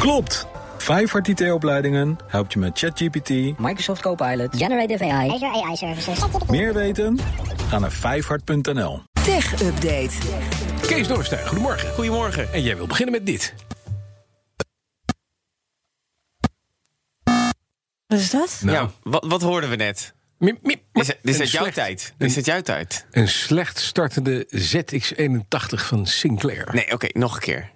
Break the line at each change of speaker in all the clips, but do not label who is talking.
Klopt! Vijfhart IT-opleidingen helpt je met ChatGPT.
Microsoft Copilot, Generative AI.
Azure AI Services.
Meer weten? Ga naar vijfhart.nl.
Tech Update.
Kees Dorrestein, goedemorgen.
Goedemorgen.
En jij wil beginnen met dit.
Wat is dat?
Nou,
Ja, wat, wat hoorden we net?
mie, mie,
Is, dit is
een
uit jouw
slecht-
tijd. Dit is uit jouw tijd.
Een slecht startende ZX81 van Sinclair.
Nee, oké, nog een keer.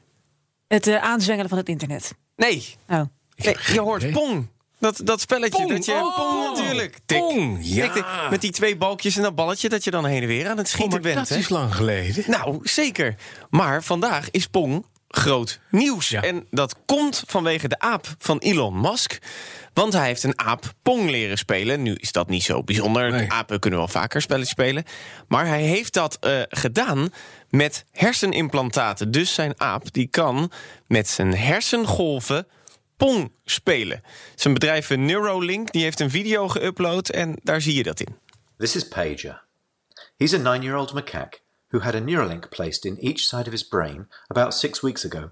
Het eh, aanzwengelen van het internet.
Nee,
Oh.
nee je hoort
idee.
Pong. Dat, dat spelletje.
Pong,
dat je,
oh,
pong natuurlijk. Tik,
Pong,
tik,
ja.
tik. met die twee balkjes en dat balletje dat je dan heen en weer aan het
Oh,
schieten
maar
bent.
dat
hè?
is lang geleden.
Nou, zeker. Maar vandaag is Pong groot nieuws.
Ja.
En dat komt vanwege de aap van Elon Musk. Want hij heeft een aap Pong leren spelen. Nu is dat niet zo bijzonder.
Nee.
Apen kunnen wel vaker spelletjes spelen. Maar hij heeft dat eh, gedaan met hersenimplantaten. Dus zijn aap die kan met zijn hersengolven Pong spelen. Zijn bedrijf Neuralink die heeft een video geüpload en daar zie je dat in.
This is Pager. He's a nine year old macaque who had a Neuralink placed in each side of his brain about six weeks ago.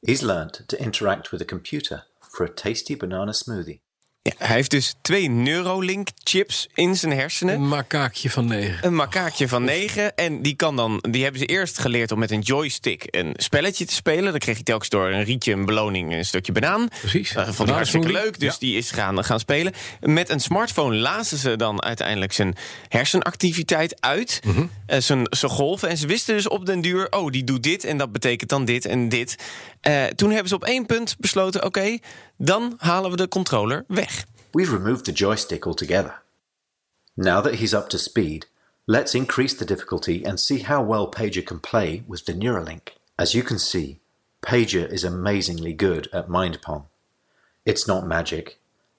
He's learned to interact with a computer for a tasty banana smoothie.
Ja, hij heeft dus twee Neuralink-chips in zijn hersenen.
Een makaakje van negen.
Een makaakje van negen. En die, kan dan, die hebben ze eerst geleerd om met een joystick een spelletje te spelen. Dan kreeg hij telkens door een rietje, een beloning, een stukje banaan.
Precies.
Eh, vond hij
Banaan
hartstikke
smoothie.
leuk, dus
Ja.
die is gaan, gaan spelen. Met een smartphone lazen ze dan uiteindelijk zijn hersenactiviteit uit.
Mhm.
eh, zijn, zijn golven. En ze wisten dus op den duur, oh, die doet dit en dat betekent dan dit en dit. Eh, toen hebben ze op één punt besloten, oké, dan halen we de controller weg.
We've removed the joystick altogether. Now that he's up to speed, let's increase the difficulty and see how well Pager can play with the Neuralink. As you can see, Pager is amazingly good at Mind Pong. It's not magic.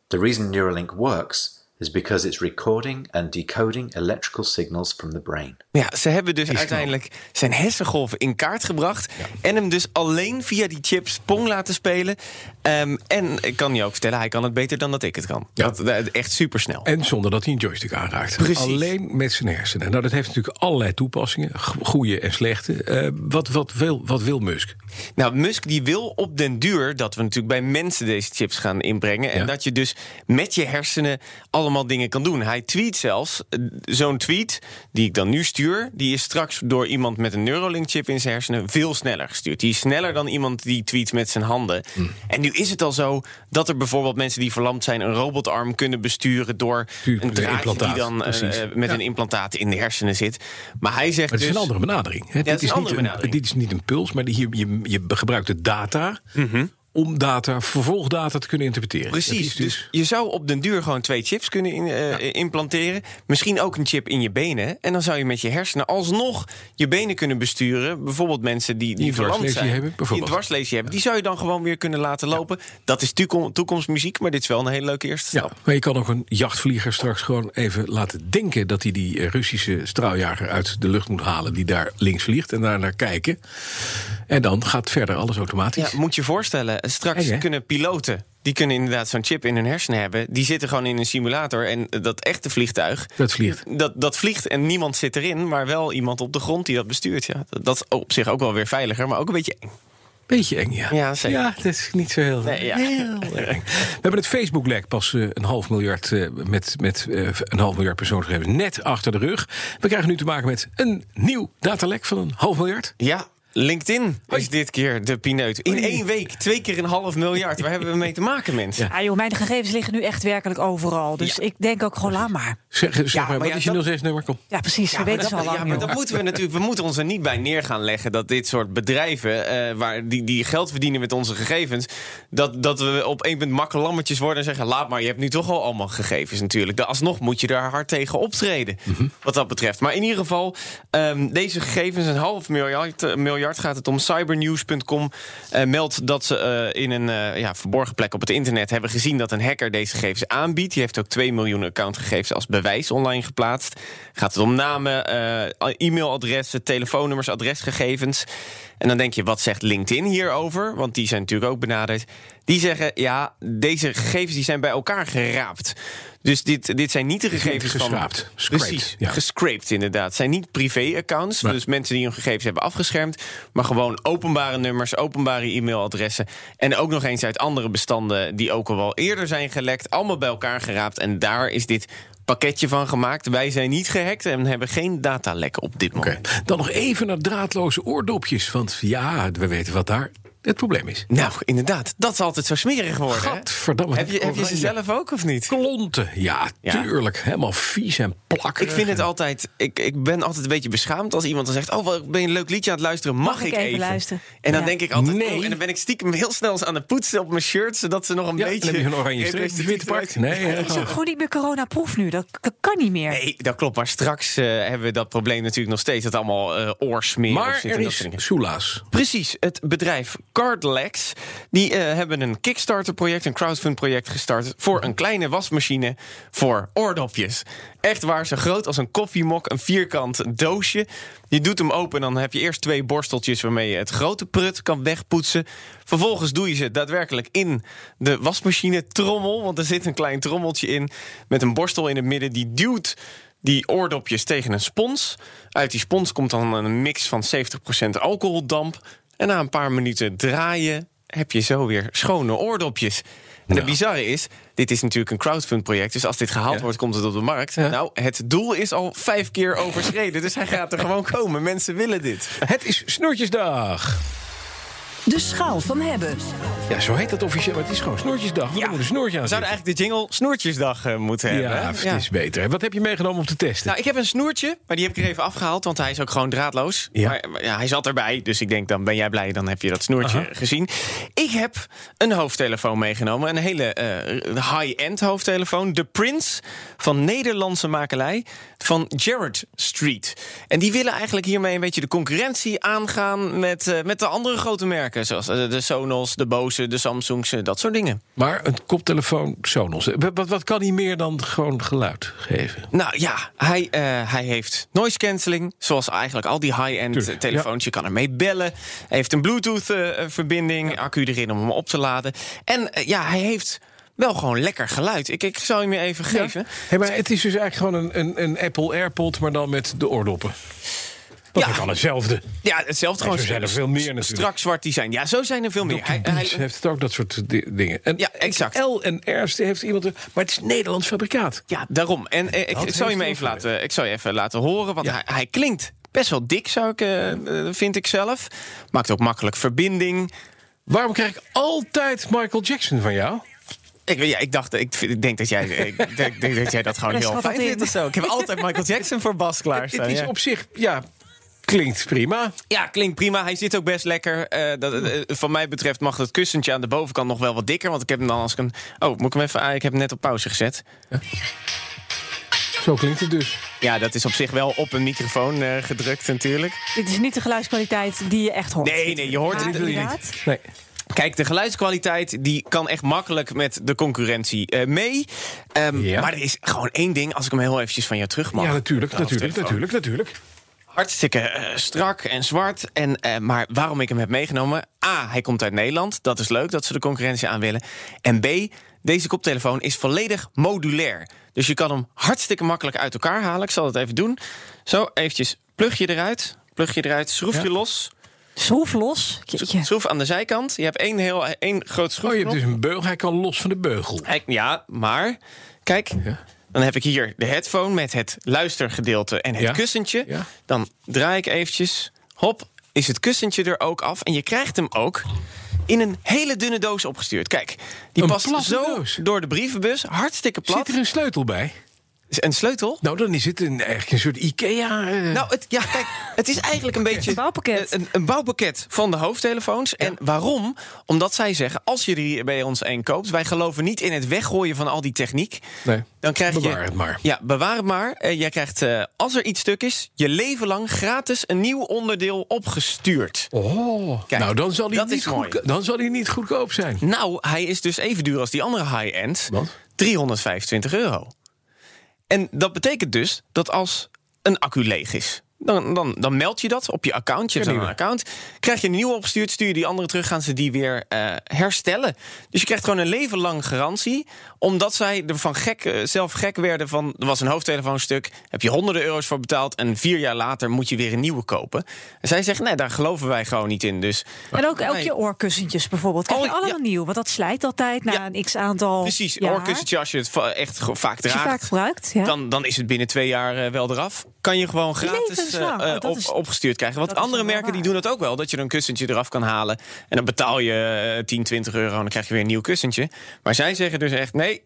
The reason Neuralink works is because it's recording and decoding electrical signals from the brain.
Ja, ze hebben dus uiteindelijk zijn hersengolven in kaart gebracht. En hem dus alleen via die chips Pong laten spelen. Ehm, en ik kan je ook vertellen, hij kan het beter dan dat ik het kan.
Ja.
Dat, dat- echt supersnel.
En zonder dat hij een joystick aanraakt.
Precies.
Alleen met zijn hersenen. Nou, dat heeft natuurlijk allerlei toepassingen. go- Goede en slechte. Eh, wat, wat, wil, wat wil Musk?
Nou, Musk die wil op den duur dat we natuurlijk bij mensen deze chips gaan inbrengen. En
Ja.
dat je dus met je hersenen allemaal dingen kan doen. Hij tweet zelfs, eh, zo'n tweet die ik dan nu stuur... die is straks door iemand met een Neuralink-chip in zijn hersenen veel sneller gestuurd. Die is sneller dan iemand die tweet met zijn handen.
Hm.
En nu is het al zo dat er bijvoorbeeld mensen die verlamd zijn... een robotarm kunnen besturen door
Tuurlijk,
een
de
draadje die
implantaat,
dan eh,
precies.
eh, met
Ja.
een implantaat in de hersenen zit. Maar hij zegt
Maar het is
dus...
een andere benadering. hè.
het is een
niet
andere benadering.
dit is niet een puls, maar hier, je, je gebruikt de data om data, vervolgdata te kunnen interpreteren. Dat
Mhm. Precies,
is dus,
dus je zou op den duur gewoon twee chips kunnen in- eh, implanteren. Misschien ook een chip in je benen. En dan zou je met je hersenen alsnog je benen kunnen besturen. Bijvoorbeeld mensen die, die
een
verlamd
dwarslesie
zijn.
hebben,
die een
bijvoorbeeld.
dwarslesie hebben. Die zou je dan gewoon weer kunnen laten lopen. Dat is toekom- toekomstmuziek, maar dit is wel een hele leuke eerste
ja,
stap.
maar je kan ook een jachtvlieger straks gewoon even laten denken dat hij die eh, Russische straaljager uit de lucht moet halen, die daar links vliegt en daar naar kijken. En dan gaat verder alles automatisch.
Ja, moet je voorstellen, eh, straks
Eng, hè?
kunnen piloten... die kunnen inderdaad zo'n chip in hun hersenen hebben. Die zitten gewoon in een simulator. En eh, dat echte vliegtuig,
dat vliegt.
dat, dat vliegt en niemand zit erin... maar wel iemand op de grond die dat bestuurt. Ja, dat, dat is op zich ook wel weer veiliger, maar ook een beetje eng.
Beetje eng, ja.
Ja, zeker.
dat is niet zo heel,
Nee, ja.
heel erg. We hebben het Facebook-lek pas eh, een half miljard, eh, met, met eh, een half miljard persoonsgegevens net achter de rug. We krijgen nu te maken met een nieuw datalek van een half miljard.
Ja, LinkedIn is dit keer de pineut. In één week twee keer een half miljard. Waar hebben we mee te maken, mensen?
Ah joh, mijn gegevens liggen nu echt werkelijk overal. Dus ik denk ook gewoon, laat maar.
Zeg, zeg maar,
maar
wat
ja,
is je
dat-
06-nummer? Kom.
Ja, precies. we
maar
weten ze al
dat,
lang,
ja, maar
joh.
dat moeten we natuurlijk. We moeten ons er niet bij neer gaan leggen dat dit soort bedrijven eh, waar die, die geld verdienen met onze gegevens, dat, dat we op één punt makke lammetjes worden en zeggen: laat maar, je hebt nu toch al allemaal gegevens natuurlijk. Da- Alsnog moet je daar hard tegen optreden. Wat dat betreft. Maar in ieder geval, ehm, deze gegevens, een half miljard, eh, miljard gaat het om. Cybernews.com eh, meldt dat ze eh, in een eh, ja, verborgen plek op het internet hebben gezien dat een hacker deze gegevens aanbiedt. Die heeft ook 2 miljoen accountgegevens als bewijs online geplaatst. Gaat het om namen, eh, e-mailadressen, telefoonnummers, adresgegevens. En dan denk je, wat zegt LinkedIn hierover? Want die zijn natuurlijk ook benaderd. Die zeggen, ja, deze gegevens die zijn bij elkaar geraapt. Dus dit, dit zijn niet de
Dit zijn
gegevens van...
geschraapt, scraped,
Precies,
ja.
gescraped inderdaad. Het zijn niet privé-accounts,
Nee.
dus mensen die hun gegevens hebben afgeschermd. Maar gewoon openbare nummers, openbare e-mailadressen. En ook nog eens uit andere bestanden die ook al wel eerder zijn gelekt. Allemaal bij elkaar geraapt en daar is dit pakketje van gemaakt. Wij zijn niet gehackt en hebben geen datalek op dit moment.
Oké. Dan nog even naar draadloze oordopjes. Want ja, we weten wat daar het probleem is.
Nou, inderdaad. Dat is altijd zo smerig worden. hè?
Gadverdamme.
Heb je, heb je ze
Oranje
zelf ook of niet?
Klonten. Ja,
Ja.
tuurlijk. Helemaal vies en plakkerig.
Ik vind het altijd. Ik, ik ben altijd een beetje beschaamd als iemand dan zegt: Oh, wat ben je een leuk liedje aan het luisteren? Mag,
Mag ik even luisteren?
En dan
Ja.
denk ik altijd:
Nee.
oh, en dan ben ik stiekem heel snel eens aan het poetsen op mijn shirt, zodat ze nog een
Ja,
beetje.
dan heb je een oranje streep.
representatief
Witte pak.
eruit-
Nee, hè,
Het is ook gewoon niet meer coronaproof nu. Dat, dat kan niet meer.
Nee, dat klopt. Maar straks eh, hebben we dat probleem natuurlijk nog steeds. Dat allemaal eh oorsmeer of
Maar
zit en
er
dat
is
soort dingen.
soelaas.
Precies, het bedrijf Cardlex. Die eh, hebben een Kickstarter-project, een crowdfund-project gestart... voor een kleine wasmachine voor oordopjes. Echt waar, zo groot als een koffiemok, een vierkant doosje. Je doet hem open en dan heb je eerst twee borsteltjes... waarmee je het grote prut kan wegpoetsen. Vervolgens doe je ze daadwerkelijk in de wasmachine-trommel... want er zit een klein trommeltje in met een borstel in het midden... die duwt die oordopjes tegen een spons. Uit die spons komt dan een mix van 70% alcoholdamp. En na een paar minuten draaien heb je zo weer schone oordopjes. En
Ja.
het bizarre is, dit is natuurlijk een crowdfund project. Dus als dit gehaald
Nou. Ja.
wordt, komt het op de markt.
Ja.
Nou, het doel is al vijf keer overschreden. Dus hij gaat er gewoon komen. Mensen willen dit.
Het is Snoertjesdag.
De schaal van hebben.
Ja, zo heet dat officieel. Maar het is gewoon Snoertjesdag. We moeten een snoertje aan
We zouden
zitten.
eigenlijk de jingle Snoertjesdag eh, moeten hebben. hè?
Ja, het is beter. hè. Wat heb je meegenomen om te testen?
Nou, ik heb een snoertje, maar die heb ik er even afgehaald, want hij is ook gewoon draadloos.
Ja.
Maar, maar ja, hij zat erbij, dus ik denk dan ben jij blij, dan heb je dat snoertje
Aha.
gezien. Ik heb een hoofdtelefoon meegenomen, een hele eh, high-end hoofdtelefoon, de Prince van Nederlandse makelij van Jared Street. En die willen eigenlijk hiermee een beetje de concurrentie aangaan met, eh, met de andere grote merken, zoals eh, de Sonos, de Bose, de Samsungs, eh, dat soort dingen.
Maar een koptelefoon Sonos. Wat, wat- wat kan hij meer dan gewoon geluid geven?
Nou ja, hij, eh, hij heeft noise cancelling, zoals eigenlijk al die high-end
Tuurlijk,
eh, telefoons. Je kan ermee bellen. Hij heeft een Bluetooth-verbinding, accu erin om hem op te laden. En eh, ja, hij heeft wel gewoon lekker geluid. Ik, ik zal hem je even geven.
Hey, maar het is dus eigenlijk gewoon een, een, een Apple AirPod, maar dan met de oordoppen. Dat
Ja.
is dan hetzelfde.
Ja, hetzelfde
Nee,
gewoon.
zo zijn er veel meer natuurlijk.
Strak zwart design. Ja, zo zijn er veel meer. Hij,
Beats
hij-
heeft het ook dat soort di- dingen. En
Ja, exact.
L en R's heeft iemand. er- Maar het is Nederlands fabrikaat.
ja, daarom. En eh,
Dat
ik, ik zal je
heeft
hem
heel
even
veel
laten, ik zal je even laten horen, want
Ja.
hij, hij klinkt best wel dik, zou ik, eh, eh, vind ik zelf. Maakt ook makkelijk verbinding.
Waarom krijg ik altijd Michael Jackson van jou?
Ik, weet- ja, ik dacht, ik, vind- ik denk dat jij, ik denk, denk dat jij dat gewoon
Daar
heel
schat
fijn
dat in.
vindt of zo. Ik heb altijd Michael Jackson voor Bas
Dit
klaarstaan.
is
Ja.
op zich, ja, klinkt prima.
ja, klinkt prima. Hij zit ook best lekker. Eh, dat, eh, van mij betreft mag dat kussentje aan de bovenkant nog wel wat dikker. Want ik heb hem dan als ik hem... Oh, moet ik hem even... ah, ik heb hem net op pauze gezet.
Zo klinkt het dus.
Ja, dat is op zich wel op een microfoon eh, gedrukt natuurlijk.
Dit is niet de geluidskwaliteit die je echt hoort.
Nee, nee, je hoort
Maar
het niet.
inderdaad,
Nee.
Kijk, de geluidskwaliteit die kan echt makkelijk met de concurrentie eh, mee. Ehm,
Ja.
Maar er is gewoon één ding, als ik hem heel eventjes van jou terug mag.
Ja, natuurlijk,
Nou,
natuurlijk,
telefoon.
natuurlijk, natuurlijk.
Hartstikke eh, strak en zwart. En, eh, maar waarom ik hem heb meegenomen? A, hij komt uit Nederland. Dat is leuk dat ze de concurrentie aan willen. En B, deze koptelefoon is volledig modulair. Dus je kan hem hartstikke makkelijk uit elkaar halen. Ik zal het even doen. Zo, eventjes plugje eruit. Plugje eruit, schroefje
Ja.
los.
Schroef los. Jeetje.
Schroef aan de zijkant. Je hebt één, heel, één groot
Oh, je
schroefknop.
hebt dus een beugel. Hij kan los van de beugel.
Hij- Ja, maar kijk,
Ja.
dan heb ik hier de headphone met het luistergedeelte en het
Ja.
kussentje.
Ja.
Dan draai ik eventjes, hop, is het kussentje er ook af. En je krijgt hem ook in een hele dunne doos opgestuurd. Kijk, die
Een
past
platte
zo
doos.
door de brievenbus, hartstikke plat.
Zit er een sleutel bij?
Een sleutel?
Nou, dan is het een, eigenlijk een soort IKEA. eh,
Nou, het, ja, kijk, het is eigenlijk een beetje
Een bouwpakket.
Een, een bouwpakket van de hoofdtelefoons. En waarom? Omdat zij zeggen: als je die bij ons één koopt, wij geloven niet in het weggooien van al die techniek.
Nee,
dan krijg je.
bewaar het maar.
Ja, bewaar het maar. Eh, jij krijgt, eh, als er iets stuk is, je leven lang gratis een nieuw onderdeel opgestuurd.
Oh,
Kijk,
nou dan zal, hij
dat is
niet
mooi.
goedko- dan zal hij niet goedkoop zijn.
Nou, hij is dus even duur als die andere high-end.
Wat?
325 euro. En dat betekent dus dat als een accu leeg is, Dan, dan, dan meld je dat op je account. Je hebt dan
nieuwe.
een account. Krijg je een nieuwe opgestuurd, stuur je die andere terug, gaan ze die weer eh, herstellen. Dus je krijgt gewoon een leven lang garantie. Omdat zij ervan gek, eh, zelf gek werden van. Er was een hoofdtelefoonstuk, heb je honderden euro's voor betaald. En vier jaar later moet je weer een nieuwe kopen. En zij zeggen: nee, daar geloven wij gewoon niet in. Dus
En ook, ook
Nee.
je oorkussentjes bijvoorbeeld. Krijg je
Oh, ja.
allemaal nieuw, want dat slijt altijd na
Ja.
een x-aantal
precies,
jaar.
oorkussentje, als je het va- echt ge- vaak
Als je
draagt.
vaak gebruikt. Ja.
dan, dan is het binnen twee jaar eh, wel eraf. Kan je gewoon gratis eh,
Levenslang.
eh,
Oh, dat
op,
is-
opgestuurd krijgen. Want
dat is
andere
wel
merken die
waar.
doen dat ook wel. Dat je er een kussentje eraf kan halen. En dan betaal je eh, 10, 20 euro en dan krijg je weer een nieuw kussentje. Maar zij zeggen dus echt nee.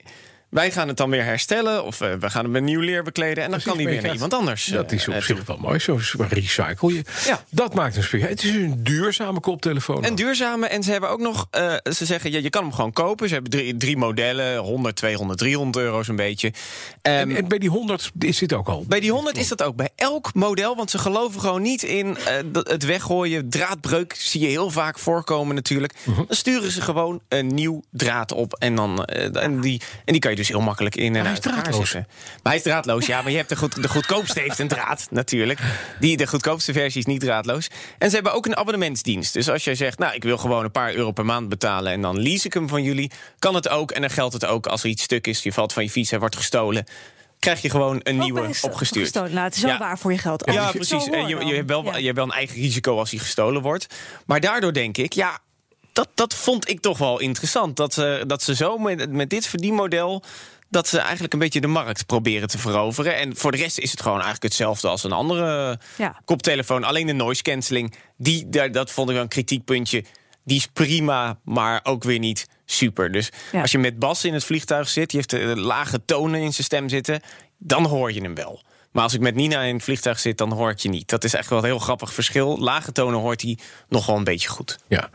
Wij gaan het dan weer herstellen. Of eh, we gaan hem met nieuw leer bekleden. En dan
Precies,
kan die
maar
weer
je
naar
krijgt-
iemand anders.
Dat
eh,
is op
eh,
zich wel mooi. Zo recycle je.
Ja.
Dat maakt een speciaal. Het is een duurzame koptelefoon.
En duurzame. En ze hebben ook nog, eh, ze zeggen, ja, je kan hem gewoon kopen. Ze hebben drie, drie modellen, 100, 200, 300 euro zo'n beetje. Ehm,
en, en bij die 100 is dit ook al.
Bij die 100 is dat ook bij elk model, want ze geloven gewoon niet in eh, dat het weggooien. Draadbreuk zie je heel vaak voorkomen natuurlijk.
Mhm.
Dan sturen ze gewoon een nieuw draad op en, dan, eh, en, die, en die kan je dus heel makkelijk in en
hij is
uit elkaar
draadloos.
zetten. Maar hij is draadloos, ja, maar je hebt de, goed, de goedkoopste heeft een draad natuurlijk. Die, de goedkoopste versie is niet draadloos. En ze hebben ook een abonnementsdienst. Dus als jij zegt, nou, ik wil gewoon een paar euro per maand betalen en dan lease ik hem van jullie, kan het ook. En dan geldt het ook als er iets stuk is, je valt van je fiets, hij wordt gestolen. Krijg je gewoon een
Ook
nieuwe
bij is-
opgestuurd.
opgestolen. Nou, het is wel
Ja.
waar voor je geld. Als
Ja,
ik het zo
precies. En
hoor
je,
dan.
je, hebt wel,
Ja.
je hebt wel een eigen risico als hij gestolen wordt. Maar daardoor denk ik, ja, dat, dat vond ik toch wel interessant. Dat ze, dat ze zo met, met dit verdienmodel. dat ze eigenlijk een beetje de markt proberen te veroveren. En voor de rest is het gewoon eigenlijk hetzelfde als een andere
Ja.
koptelefoon. Alleen de noise cancelling, die, daar, dat vond ik wel een kritiekpuntje. Die is prima, maar ook weer niet super. Dus
Ja.
als je met Bas in het vliegtuig zit, die heeft eh, lage tonen in zijn stem zitten, dan hoor je hem wel. Maar als ik met Nina in het vliegtuig zit, dan hoor ik je niet. Dat is echt wel een heel grappig verschil. Lage tonen hoort hij nog wel een beetje goed.
Ja.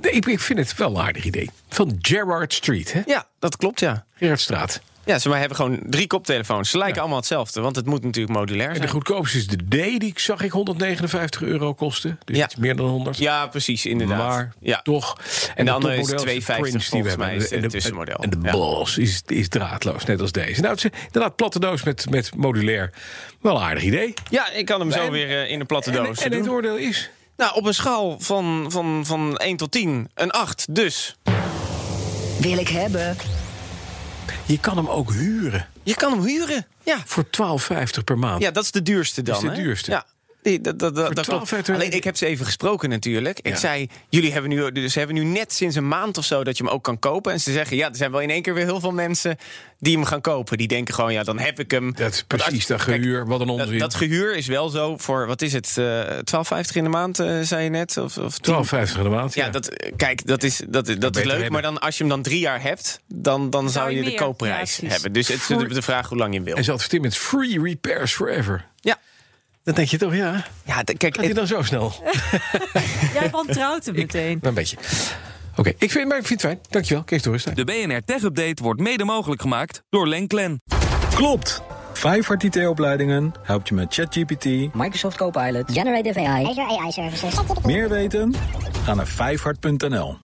Nee, Ik, ik vind het wel een aardig idee. Van Gerard Street, hè?
Ja, dat klopt, ja.
Gerardstraat.
Ja, ze maar hebben gewoon drie koptelefoons. Ze lijken allemaal hetzelfde, want het moet natuurlijk modulair
En
zijn.
de goedkoopste is de D, die zag ik 159 euro kosten. Dus
Ja.
iets meer dan 100.
Ja, precies, inderdaad.
Maar
ja.
toch.
En de
het
andere is
topmodel de
2,50
Prince
volgens mij is
En de-
het
en de-
tussenmodel.
En de
Ja.
Boss is, is draadloos, net als deze. Nou, het is inderdaad platte doos met, met modulair. Wel een aardig idee.
Ja, ik kan hem zo
En-
weer eh, in de platte
En,
doos
en
doen.
het oordeel is...
Nou, op een schaal van, van, van 1 tot 10, een 8. Dus
Wil ik hebben.
Je kan hem ook huren
je kan hem huren. Ja,
voor 12,50 per maand.
ja dat is de duurste dan.
is de
hè?
duurste.
Ja. Die, dat, dat, dat, dat klopt.
12,50.
Alleen ik heb ze even gesproken natuurlijk. Ik
Ja.
zei, jullie hebben nu, dus ze hebben nu net sinds een maand of zo dat je hem ook kan kopen. En ze zeggen, ja, er zijn wel in één keer weer heel veel mensen die hem gaan kopen. Die denken gewoon, ja, dan heb ik hem.
Dat is
Want als-
precies dat
Kijk,
gehuur. Wat een
Dat,
onzin.
dat gehuur is wel zo voor, wat is het, eh 12,50 in de maand, eh, zei je net? Of, of 10?
12,50 in de maand.
Ja, dat, eh, kijk, dat is, dat, dat is
beter
leuk.
hebben.
Maar dan, als je hem dan drie jaar hebt, dan, dan zou
je
je de
meer.
koopprijs
Ja, precies.
hebben. Dus het is
Voor-
de vraag hoe lang je hem wil.
En ze adverteert met free repairs forever.
Ja,
Dan denk je toch, ja,
ja d- kijk,
gaat hij
het-
dan zo snel?
Jij wantrouwt hem meteen.
Een beetje. Oké, ik, vind, maar ik vind het fijn. Dankjewel. Kees Dorrestein.
De BNR Tech Update wordt mede mogelijk gemaakt door Lenklen.
Klopt! Vijfhart IT-opleidingen helpt je met ChatGPT.
Microsoft Copilot. Generative AI.
Azure AI Services.
Meer weten? Ga naar vijfhart.nl.